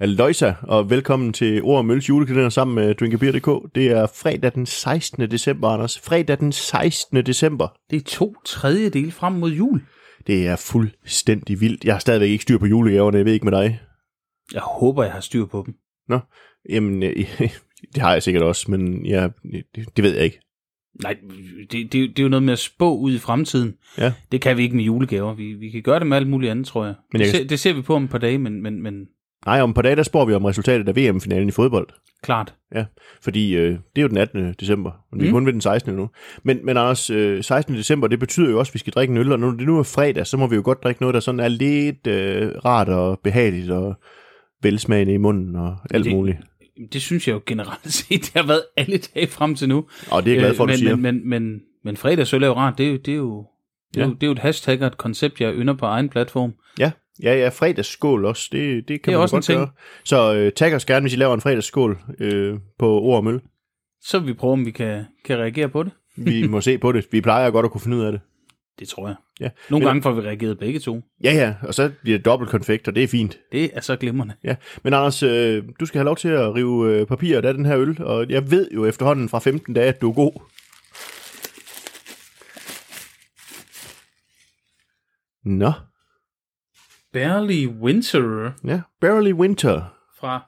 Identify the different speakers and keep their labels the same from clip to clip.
Speaker 1: Aloysa, og velkommen til Ord og Mølles julekalender sammen med drinkabeer.dk. Det er fredag den 16. december, Anders. Fredag den 16. december.
Speaker 2: Det er to tredjedel frem mod jul.
Speaker 1: Det er fuldstændig vildt. Jeg har stadigvæk ikke styr på julegaverne, jeg ved ikke med dig.
Speaker 2: Jeg håber, jeg har styr på dem.
Speaker 1: Nå, jamen, øh, det har jeg sikkert også, men jeg, det, det ved jeg ikke.
Speaker 2: Nej, det, det, det er jo noget med at spå ud i fremtiden.
Speaker 1: Ja.
Speaker 2: Det kan vi ikke med julegaver. Vi, vi kan gøre det med alt muligt andet, tror jeg.
Speaker 1: Men
Speaker 2: Men
Speaker 1: jeg
Speaker 2: jeg det,
Speaker 1: kan-
Speaker 2: ser, det ser vi på om et par dage, men, men, men
Speaker 1: Nej, om et par dage, der spår vi om resultatet af VM-finalen i fodbold.
Speaker 2: klart.
Speaker 1: Ja, fordi øh, det er jo den 18. december, og vi er mm. kun ved den 16. nu. Men, men Anders, øh, 16. december, det betyder jo også, at vi skal drikke en øl, og når det nu er fredag, så må vi jo godt drikke noget, der sådan er lidt øh, rart og behageligt og velsmagende i munden og alt det...
Speaker 2: Det-
Speaker 1: muligt.
Speaker 2: Det synes jeg jo generelt set, det har været alle dage frem til nu.
Speaker 1: Og det er jeg glad for,
Speaker 2: Øh,
Speaker 1: at du
Speaker 2: men,
Speaker 1: siger.
Speaker 2: Men, men, men, men fredagsøl er jo rart. Det er jo, det er jo, det er
Speaker 1: Ja.
Speaker 2: jo, det er jo et hashtag og et koncept, jeg ynder på egen platform.
Speaker 1: Ja, ja, ja, fredagsskål også, det, det kan
Speaker 2: er
Speaker 1: man
Speaker 2: også
Speaker 1: jo
Speaker 2: en
Speaker 1: godt
Speaker 2: ting.
Speaker 1: gøre. Så øh, tag os gerne, hvis I laver en fredagsskål øh, på ord og møl.
Speaker 2: Så vil vi prøve, om vi kan, kan reagere på det.
Speaker 1: Vi må se på det. Vi plejer godt at kunne finde ud af det.
Speaker 2: Det tror jeg.
Speaker 1: Ja.
Speaker 2: Nogle
Speaker 1: Men-
Speaker 2: gange får vi reageret begge to.
Speaker 1: Ja, ja, og så bliver det dobbelt konfekt, og det er fint.
Speaker 2: Det er så glimrende.
Speaker 1: Ja, men Anders, øh, du skal have lov til at rive øh, papiret af den her øl, og jeg ved jo efterhånden fra 15 dage, at du er god. Nå,
Speaker 2: Barely Winterer
Speaker 1: ja. Barely Winter,
Speaker 2: fra...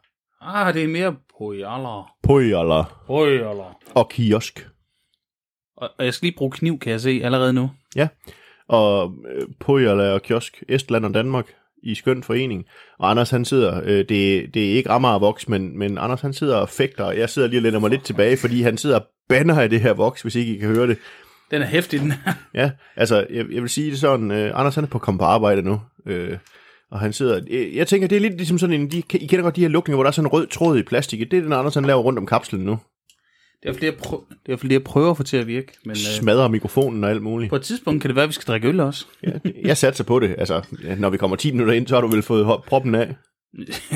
Speaker 2: Ah, det er mere pojaller.
Speaker 1: Pojaller
Speaker 2: Pojaller.
Speaker 1: og Kiosk.
Speaker 2: Og, og jeg skal lige bruge kniv, kan jeg se, allerede nu.
Speaker 1: Ja, og øh, Pojaller og Kiosk, Estland og Danmark i skøn forening. Og Anders han sidder, øh, det, det er ikke Amager Voks, men, men Anders han sidder og fægter, og jeg sidder lige og lænder mig lidt tilbage, fordi han sidder og banner i det her Voks, hvis ikke I kan høre det.
Speaker 2: Den er hæftig, den her.
Speaker 1: Ja, altså, jeg, jeg vil sige det sådan, øh, Anders han er på kom på arbejde nu, øh, og han sidder, øh, jeg tænker, det er lidt ligesom sådan en, de, I kender godt de her lukninger, hvor der er sådan en rød tråd i plastik, det er den Anders han laver rundt om kapslen nu,
Speaker 2: Det er fordi, jeg, prø- det er fordi, jeg prøver at få til at virke. Men øh,
Speaker 1: smadrer mikrofonen og alt muligt.
Speaker 2: på et tidspunkt kan det være, at vi skal drikke øl også.
Speaker 1: Ja, jeg satser på det, altså, ja, når vi kommer 10 minutter ind, så har du vel fået hop- proppen af.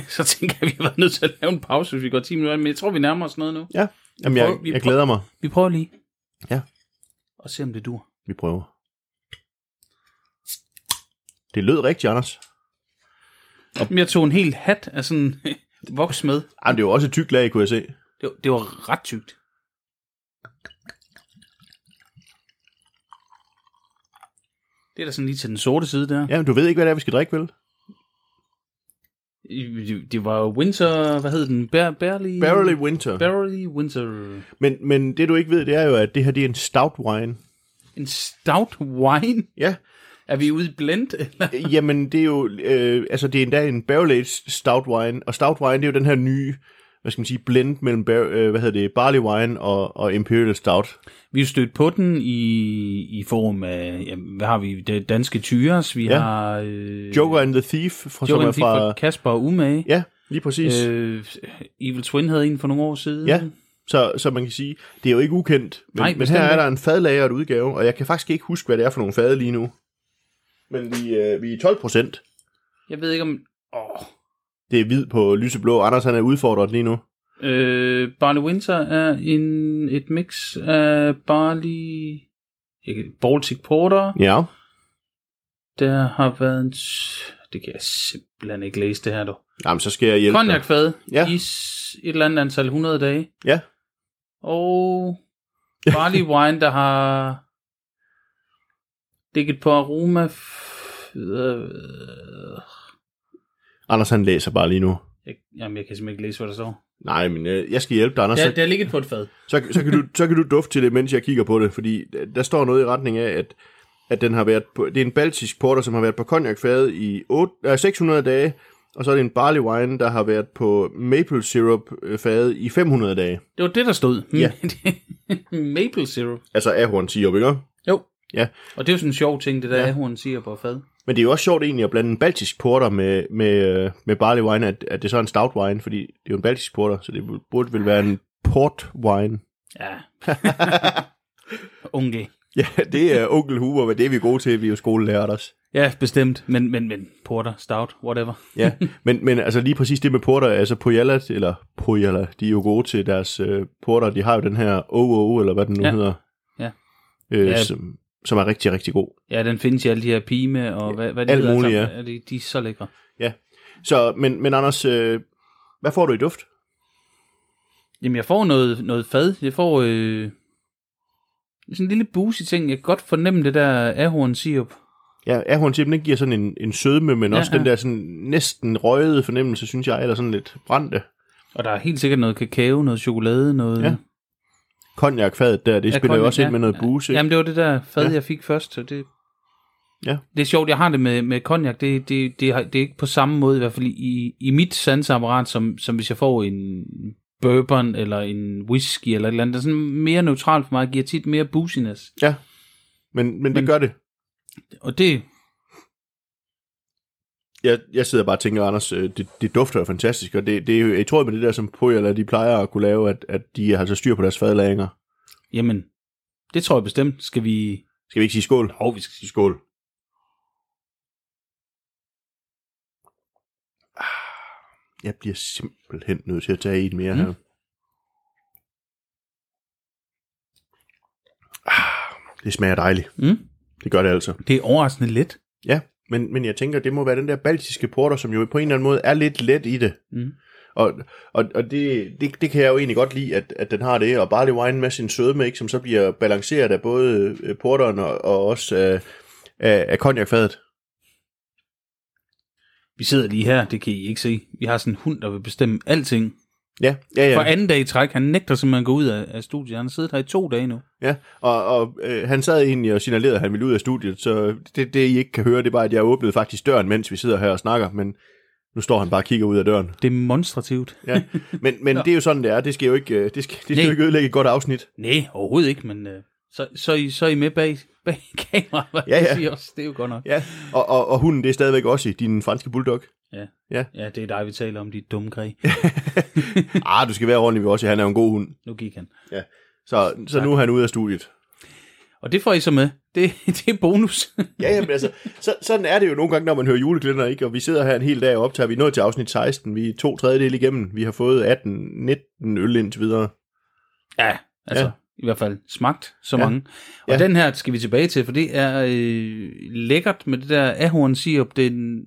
Speaker 2: så tænker jeg, at vi har været nødt til at lave en pause, hvis vi går 10 minutter. Men jeg tror, vi nærmer os noget nu.
Speaker 1: Ja, jamen jeg, jeg glæder mig.
Speaker 2: Vi prøver lige.
Speaker 1: Ja.
Speaker 2: Og se, om det dur.
Speaker 1: Vi prøver. Det lød rigtigt, Anders.
Speaker 2: Men jeg tog en hel hat af sådan voks med.
Speaker 1: Ej, men det er jo også et tykt lag, kunne jeg se.
Speaker 2: Det, var- det var ret tykt. Det er da sådan lige til den sorte side der.
Speaker 1: Ja, men du ved ikke, hvad det er, vi skal drikke, vel?
Speaker 2: Det- Det var jo Winter, hvad hed den? Bar- barely,
Speaker 1: Barely Winter.
Speaker 2: Barely Winter.
Speaker 1: Men, men det, du ikke ved, det er jo, at det her det er en stout wine.
Speaker 2: En stout wine?
Speaker 1: Ja,
Speaker 2: Er vi ude i blend? Eller?
Speaker 1: Jamen, det er jo, øh, altså det er endda en barrel-aged stout wine, og stout wine, det er jo den her nye, hvad skal man sige, blend mellem, bar- øh, hvad hedder det, barley wine og, og imperial stout.
Speaker 2: Vi er stødt på den i, i form af, jamen, hvad har vi? Det danske tyres, vi
Speaker 1: Ja.
Speaker 2: har... Øh,
Speaker 1: Joker and the Thief, fra, som
Speaker 2: Joker
Speaker 1: er
Speaker 2: fra...
Speaker 1: fra,
Speaker 2: Kasper og Umage.
Speaker 1: ja, lige præcis. Øh,
Speaker 2: Øh, Evil Twin havde en for nogle år siden.
Speaker 1: ja, så, så man kan sige, det er jo ikke ukendt, men,
Speaker 2: Nej,
Speaker 1: Nej, men
Speaker 2: bestemt
Speaker 1: her er
Speaker 2: ikke.
Speaker 1: der en fadlageret udgave, og jeg kan faktisk ikke huske, hvad det er for nogle fade lige nu. Men vi, øh, vi er 12 procent.
Speaker 2: Jeg ved ikke om... Åh.
Speaker 1: Det er hvid på lyseblå. Anders han er udfordret lige nu.
Speaker 2: Øh, barley Winter er en, et mix af barley... ikke, Baltic Porter.
Speaker 1: Ja.
Speaker 2: Der har været en... s- Det kan jeg simpelthen ikke læse det her, du.
Speaker 1: Jamen, så skal jeg hjælpe dig.
Speaker 2: Konjakfad
Speaker 1: Ja.
Speaker 2: ja. i s- et eller andet antal 100 dage.
Speaker 1: Ja.
Speaker 2: Og barley wine, der har ligget på aroma... F- øh,
Speaker 1: Anders han læser bare lige nu.
Speaker 2: jeg, jamen, jeg kan simpelthen ikke læse, hvad der står.
Speaker 1: Nej, men øh, jeg skal hjælpe dig, Anders.
Speaker 2: Der,
Speaker 1: Så,
Speaker 2: der er ligget på et fad.
Speaker 1: så, så, kan du, så kan du dufte til det, mens jeg kigger på det, fordi der- der står noget i retning af, at, at den har været på, det er en baltisk porter, som har været på konjakfadet i 8, øh, 600 dage, og så er det en barley wine, der har været på maple syrup øh, fadet i 500 dage.
Speaker 2: Det var det, der stod.
Speaker 1: Ja.
Speaker 2: Maple syrup.
Speaker 1: Altså ahorn sirup, ikke?
Speaker 2: Jo.
Speaker 1: Ja.
Speaker 2: Og det er jo sådan en sjov ting, det der
Speaker 1: Ja.
Speaker 2: ja. ahorn siger på fad.
Speaker 1: Men det er jo også sjovt egentlig at blande en baltisk porter med, med, øh, med barley wine, at, at det så er en stout wine, fordi det er jo en baltisk porter, så det burde vel være en port wine.
Speaker 2: Ja. Unge.
Speaker 1: Ja, det er onkel Huber, men det er vi gode til, vi er jo skolelærer også.
Speaker 2: Ja, bestemt. Men, men, men. Porter, stout, whatever.
Speaker 1: Ja, men, men altså lige præcis det med porter, altså Pojala, eller Pojala, de er jo gode til deres øh, porter, de har jo den her OO, eller hvad den nu ja.
Speaker 2: Ja.
Speaker 1: hedder,
Speaker 2: Ja.
Speaker 1: Øh,
Speaker 2: Ja.
Speaker 1: Som, som er rigtig, rigtig god.
Speaker 2: Ja, den findes i alle de her pime, og hvad, hvad de
Speaker 1: alt
Speaker 2: hedder
Speaker 1: muligt,
Speaker 2: sammen. ja. De, de er så lækre.
Speaker 1: Ja, så, men, men Anders, øh, Hvad får du i duft?
Speaker 2: Jamen, jeg får noget, noget fad. Jeg får øh, sådan en lille boozy ting. Jeg kan godt fornemme det der ahorn sirup.
Speaker 1: Ja, ahorntippen, den giver sådan en, en sødme, men
Speaker 2: Ja,
Speaker 1: ja, også ja. den
Speaker 2: ja.
Speaker 1: der sådan næsten røgede fornemmelse, synes jeg, eller sådan lidt brændte.
Speaker 2: Og der er helt sikkert noget kakao, noget chokolade, noget...
Speaker 1: Ja, Konjakfadet der, det
Speaker 2: Ja,
Speaker 1: spiller jo
Speaker 2: cognac,
Speaker 1: også ind med noget booze, ikke?
Speaker 2: Jamen, det var det der fad, ja.
Speaker 1: Ja.
Speaker 2: jeg fik først. Så det,
Speaker 1: Ja.
Speaker 2: det er sjovt, jeg har det med, med cognac. Det, det, det, har- det er ikke på samme måde, i hvert fald i, i mit sanseapparat, som, som hvis jeg får en bourbon eller en whisky eller et eller andet. Det er sådan mere neutralt for mig, giver tit mere booziness.
Speaker 1: Ja, men, men
Speaker 2: Men-
Speaker 1: det gør det.
Speaker 2: Og det,
Speaker 1: Jeg, jeg sidder bare og tænker, Anders, øh, det, det dufter jo fantastisk, og det, det er jo i tråd med det der, som Poyala, de plejer at kunne lave, at, at de har så styr på deres fadlagringer.
Speaker 2: jamen, det tror jeg bestemt. Skal vi...
Speaker 1: Skal vi ikke sige skål?
Speaker 2: Jo, vi skal sige
Speaker 1: Skål. Ah, Jeg bliver simpelthen nødt til at tage en mere
Speaker 2: Mm.
Speaker 1: mm. her. Ah, Det smager dejligt.
Speaker 2: Mm?
Speaker 1: Det gør det altså.
Speaker 2: Det er overraskende let.
Speaker 1: Ja, men, men jeg tænker, det må være den der baltiske porter, som jo på en eller anden måde er lidt let i det.
Speaker 2: Mm.
Speaker 1: Og, og, og det, det, det kan jeg jo egentlig godt lide, at, at den har det. Og barley wine med sin sødme, ikke, som så bliver balanceret af både øh, porteren og, og også øh, af, af konjakfadet.
Speaker 2: Vi sidder lige her, det kan I ikke se. Vi har sådan en hund, der vil bestemme alting.
Speaker 1: Ja, ja,
Speaker 2: For
Speaker 1: ja.
Speaker 2: anden dag i træk, han nægter simpelthen at gå ud af, af studiet. Han har siddet her i to dage nu.
Speaker 1: ja. Og, og øh, han sad egentlig og signalerede, at han ville ud af studiet, så det, det I ikke kan høre, det er bare, at jeg åbnede faktisk døren, mens vi sidder her og snakker, men nu står han bare og kigger ud af døren.
Speaker 2: Demonstrativt.
Speaker 1: Ja. Men, men det er jo sådan, det er. Det skal jo ikke, øh, det skal, det skal
Speaker 2: Nej.
Speaker 1: jo ikke ødelægge et godt afsnit.
Speaker 2: Nej, overhovedet ikke, men øh, så, så, er I, så er I med bag, bag kameraet, hvad
Speaker 1: Ja,
Speaker 2: ja, ja.
Speaker 1: ja.
Speaker 2: siger også. Det er jo godt nok.
Speaker 1: Ja, og, og, og hunden, det er stadigvæk også i din franske bulldog.
Speaker 2: Ja, det er dig, vi taler om, dit dumme grej.
Speaker 1: Ah, du skal være ordentlig ved også, han er jo en god hund.
Speaker 2: Nu gik han.
Speaker 1: Så, så nu er han ude af studiet.
Speaker 2: Og det får I så med. Det, det er bonus.
Speaker 1: Ja, jamen altså, så, sådan er det jo nogle gange, når man hører juleglænder, ikke? Og vi sidder her en hel dag og optager. Vi er nået til afsnit 16. Vi er to tredjedel igennem. Vi har fået 18, 19 øl indtil videre.
Speaker 2: ja, altså.
Speaker 1: Ja.
Speaker 2: Ja. I hvert fald smagt så ja.
Speaker 1: Ja.
Speaker 2: mange. Og ja.
Speaker 1: Ja.
Speaker 2: den her skal vi tilbage til, for det er øh, lækkert med det der ahorn sirup. Den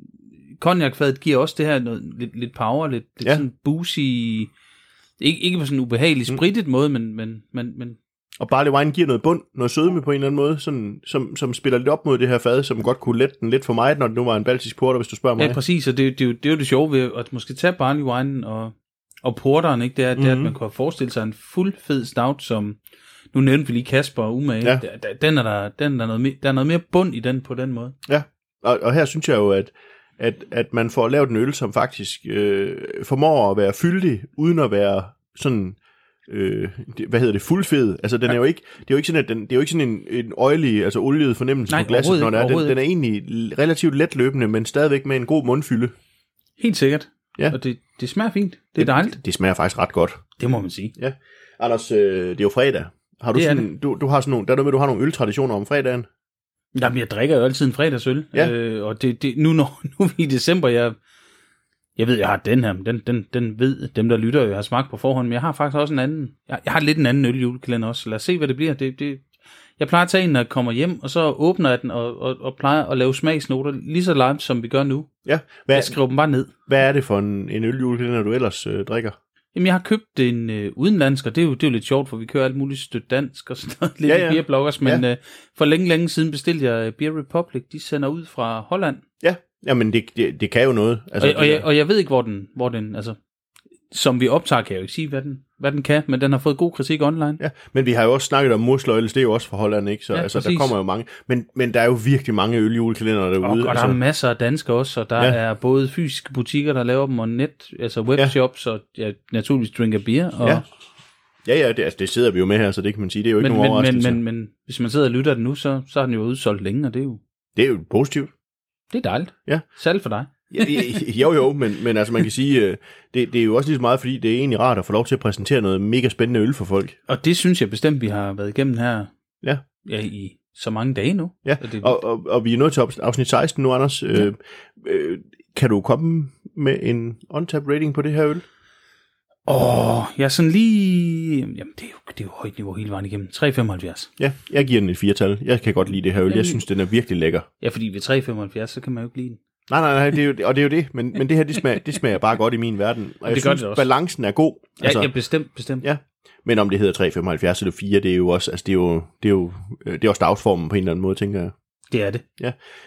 Speaker 2: konjakfadet giver også det her noget, lidt, lidt power, lidt, lidt ja.
Speaker 1: Ja.
Speaker 2: sådan boozy. Ikke, ikke på sådan en ubehagelig, spritet mm. måde, men, men, men, men
Speaker 1: Og barley wine giver noget bund, noget sødme på en eller anden måde, sådan, som, som spiller lidt op mod det her fad, som godt kunne lette den lidt for mig, når det nu var en baltisk porter, hvis du spørger mig.
Speaker 2: Ja, præcis, og det, det, er jo- det er jo det sjove ved at måske tage barley wine og, og porteren, ikke? Det er, mm-hmm. det er, at
Speaker 1: Mhm.
Speaker 2: man kunne have forestillet sig en fuld fed stout, som nu nævnte vi lige Kasper og Umage.
Speaker 1: Ja.
Speaker 2: Der- der- Den er der, den er der, noget, me- der er noget mere bund i den på den måde.
Speaker 1: Ja, og, og her synes jeg jo, at, at, at man får lavet en øl, som faktisk øh, formår at være fyldig, uden at være sådan, øh, det- hvad hedder det, fuldfed. Altså, den er jo ikke, det er jo ikke sådan, at den, det er jo ikke sådan en, en øjelig, altså oliet fornemmelse
Speaker 2: Nej,
Speaker 1: på glasset,
Speaker 2: overhovedet
Speaker 1: når
Speaker 2: ikke,
Speaker 1: der er. Den,
Speaker 2: overhovedet
Speaker 1: den er egentlig relativt let løbende, men stadigvæk med en god mundfylde.
Speaker 2: Helt sikkert.
Speaker 1: Ja.
Speaker 2: Og det, det smager fint. Det er dejligt.
Speaker 1: Det smager faktisk ret godt.
Speaker 2: Det må man sige.
Speaker 1: Ja. Anders, øh, det er jo fredag. Har du
Speaker 2: Det er
Speaker 1: sådan, du, du har sådan nogle, der er noget med, du har nogle øltraditioner om fredagen.
Speaker 2: Jamen, jeg drikker jo altid en fredagsøl.
Speaker 1: Ja.
Speaker 2: Øh, og det, det, nu, når, nu er vi i december, jeg, jeg ved, jeg har den her, men den, den, den ved dem, der lytter, jeg har smagt på forhånd, men jeg har faktisk også en anden. Jeg, jeg har lidt en anden øl i julekalender også. Lad os se, hvad det bliver. Det, det, jeg plejer at tage en, når jeg kommer hjem, og så åbner jeg den og, og, og plejer at lave smagsnoter lige så live, som vi gør nu.
Speaker 1: Ja. Hvad,
Speaker 2: Jeg skriver dem bare ned.
Speaker 1: hvad er det for en, en øljulekalender, du ellers øh, drikker?
Speaker 2: Jamen, jeg har købt en øh, udenlandsk, og det er, jo, det er jo lidt sjovt, for vi kører alt muligt stødt dansk og sådan noget, lidt
Speaker 1: Ja,
Speaker 2: ja, ja.
Speaker 1: ja.
Speaker 2: beerbloggers, men ja. øh, for længe, længe siden bestilte jeg øh, Beer Republic, de sender ud fra Holland,
Speaker 1: Ja, jamen det, det, det kan jo noget.
Speaker 2: Altså, og, og,
Speaker 1: det
Speaker 2: jeg,
Speaker 1: der-
Speaker 2: og jeg ved ikke, hvor den, hvor den, altså, som vi optager, kan jeg jo ikke sige, hvad den, hvad den kan, men den har fået god kritik online.
Speaker 1: ja, men vi har jo også snakket om mursløjles, det er jo også fra Holland, ikke? Så
Speaker 2: Ja,
Speaker 1: ja, altså, der
Speaker 2: præcis.
Speaker 1: kommer jo mange. Men, men der er jo virkelig mange øljulekalendere
Speaker 2: Og,
Speaker 1: derude.
Speaker 2: og der
Speaker 1: altså,
Speaker 2: er masser af danskere også, og der ja.
Speaker 1: Ja.
Speaker 2: er både fysiske butikker, der laver dem, og net, altså webshops, ja. og ja, naturligvis drink and beer. Og,
Speaker 1: Ja, ja, ja det, altså, det sidder vi jo med her, så det kan man sige, det er jo ikke
Speaker 2: men,
Speaker 1: nogen
Speaker 2: men, men,
Speaker 1: overraskelse.
Speaker 2: men, men, hvis man sidder og lytter det nu, så, så er den jo udsolgt længe, og det er jo
Speaker 1: Det er jo positivt.
Speaker 2: det er dejligt.
Speaker 1: Ja.
Speaker 2: Særligt for dig.
Speaker 1: Ja, det- jo, jo, men, men altså man kan sige, øh, det, det er jo også lige så meget, fordi det er egentlig rart at få lov til at præsentere noget mega spændende øl for folk.
Speaker 2: Og det synes jeg bestemt, vi har været igennem her
Speaker 1: Ja.
Speaker 2: ja i så mange dage nu.
Speaker 1: Ja,
Speaker 2: og det,
Speaker 1: og, og, og vi er nået til op- afsnit 16 nu, Anders. Øh, øh, kan du komme med en on-tap rating på det her øl?
Speaker 2: Åh, jeg er sådan lige... Jamen, det er jo, det er jo højt niveau hele vejen igennem. 3,75.
Speaker 1: Ja, jeg giver den et firetal. Jeg kan godt lide det her øl.
Speaker 2: Jamen-
Speaker 1: Jeg synes, den er virkelig lækker.
Speaker 2: Ja, fordi ved 3,75, så kan man jo ikke lide den.
Speaker 1: Nej, nej, nej, det er jo, og det er jo det, men, men det her, det smager, det smager bare godt i min verden. Og jeg
Speaker 2: Det gør
Speaker 1: synes,
Speaker 2: det også.
Speaker 1: balancen er god.
Speaker 2: Ja, altså, ja bestemt, bestemt.
Speaker 1: Ja. Men om det hedder 375 eller 4, det er jo også, altså det er jo, det er jo, øh, det er også dagsformen på en eller anden måde, tænker jeg.
Speaker 2: Det er det.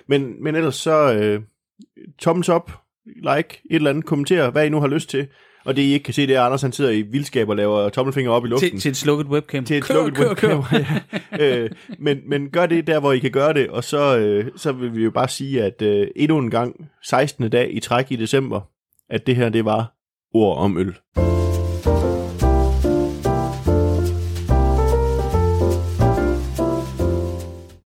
Speaker 1: Men, men ellers så, øh, thumbs up, like, et eller andet, kommenter, hvad I nu har lyst til. Og det I ikke kan se, det er, at Anders han sidder i vildskab og laver tommelfinger op i luften.
Speaker 2: Til, til et slukket webcam.
Speaker 1: til et lukket webcam. ja. øh, men, men gør det der, hvor I kan gøre det, og så, øh, så vil vi jo bare sige, at øh, endnu en gang, 16. dag i træk i december, at det her, det var ord om øl.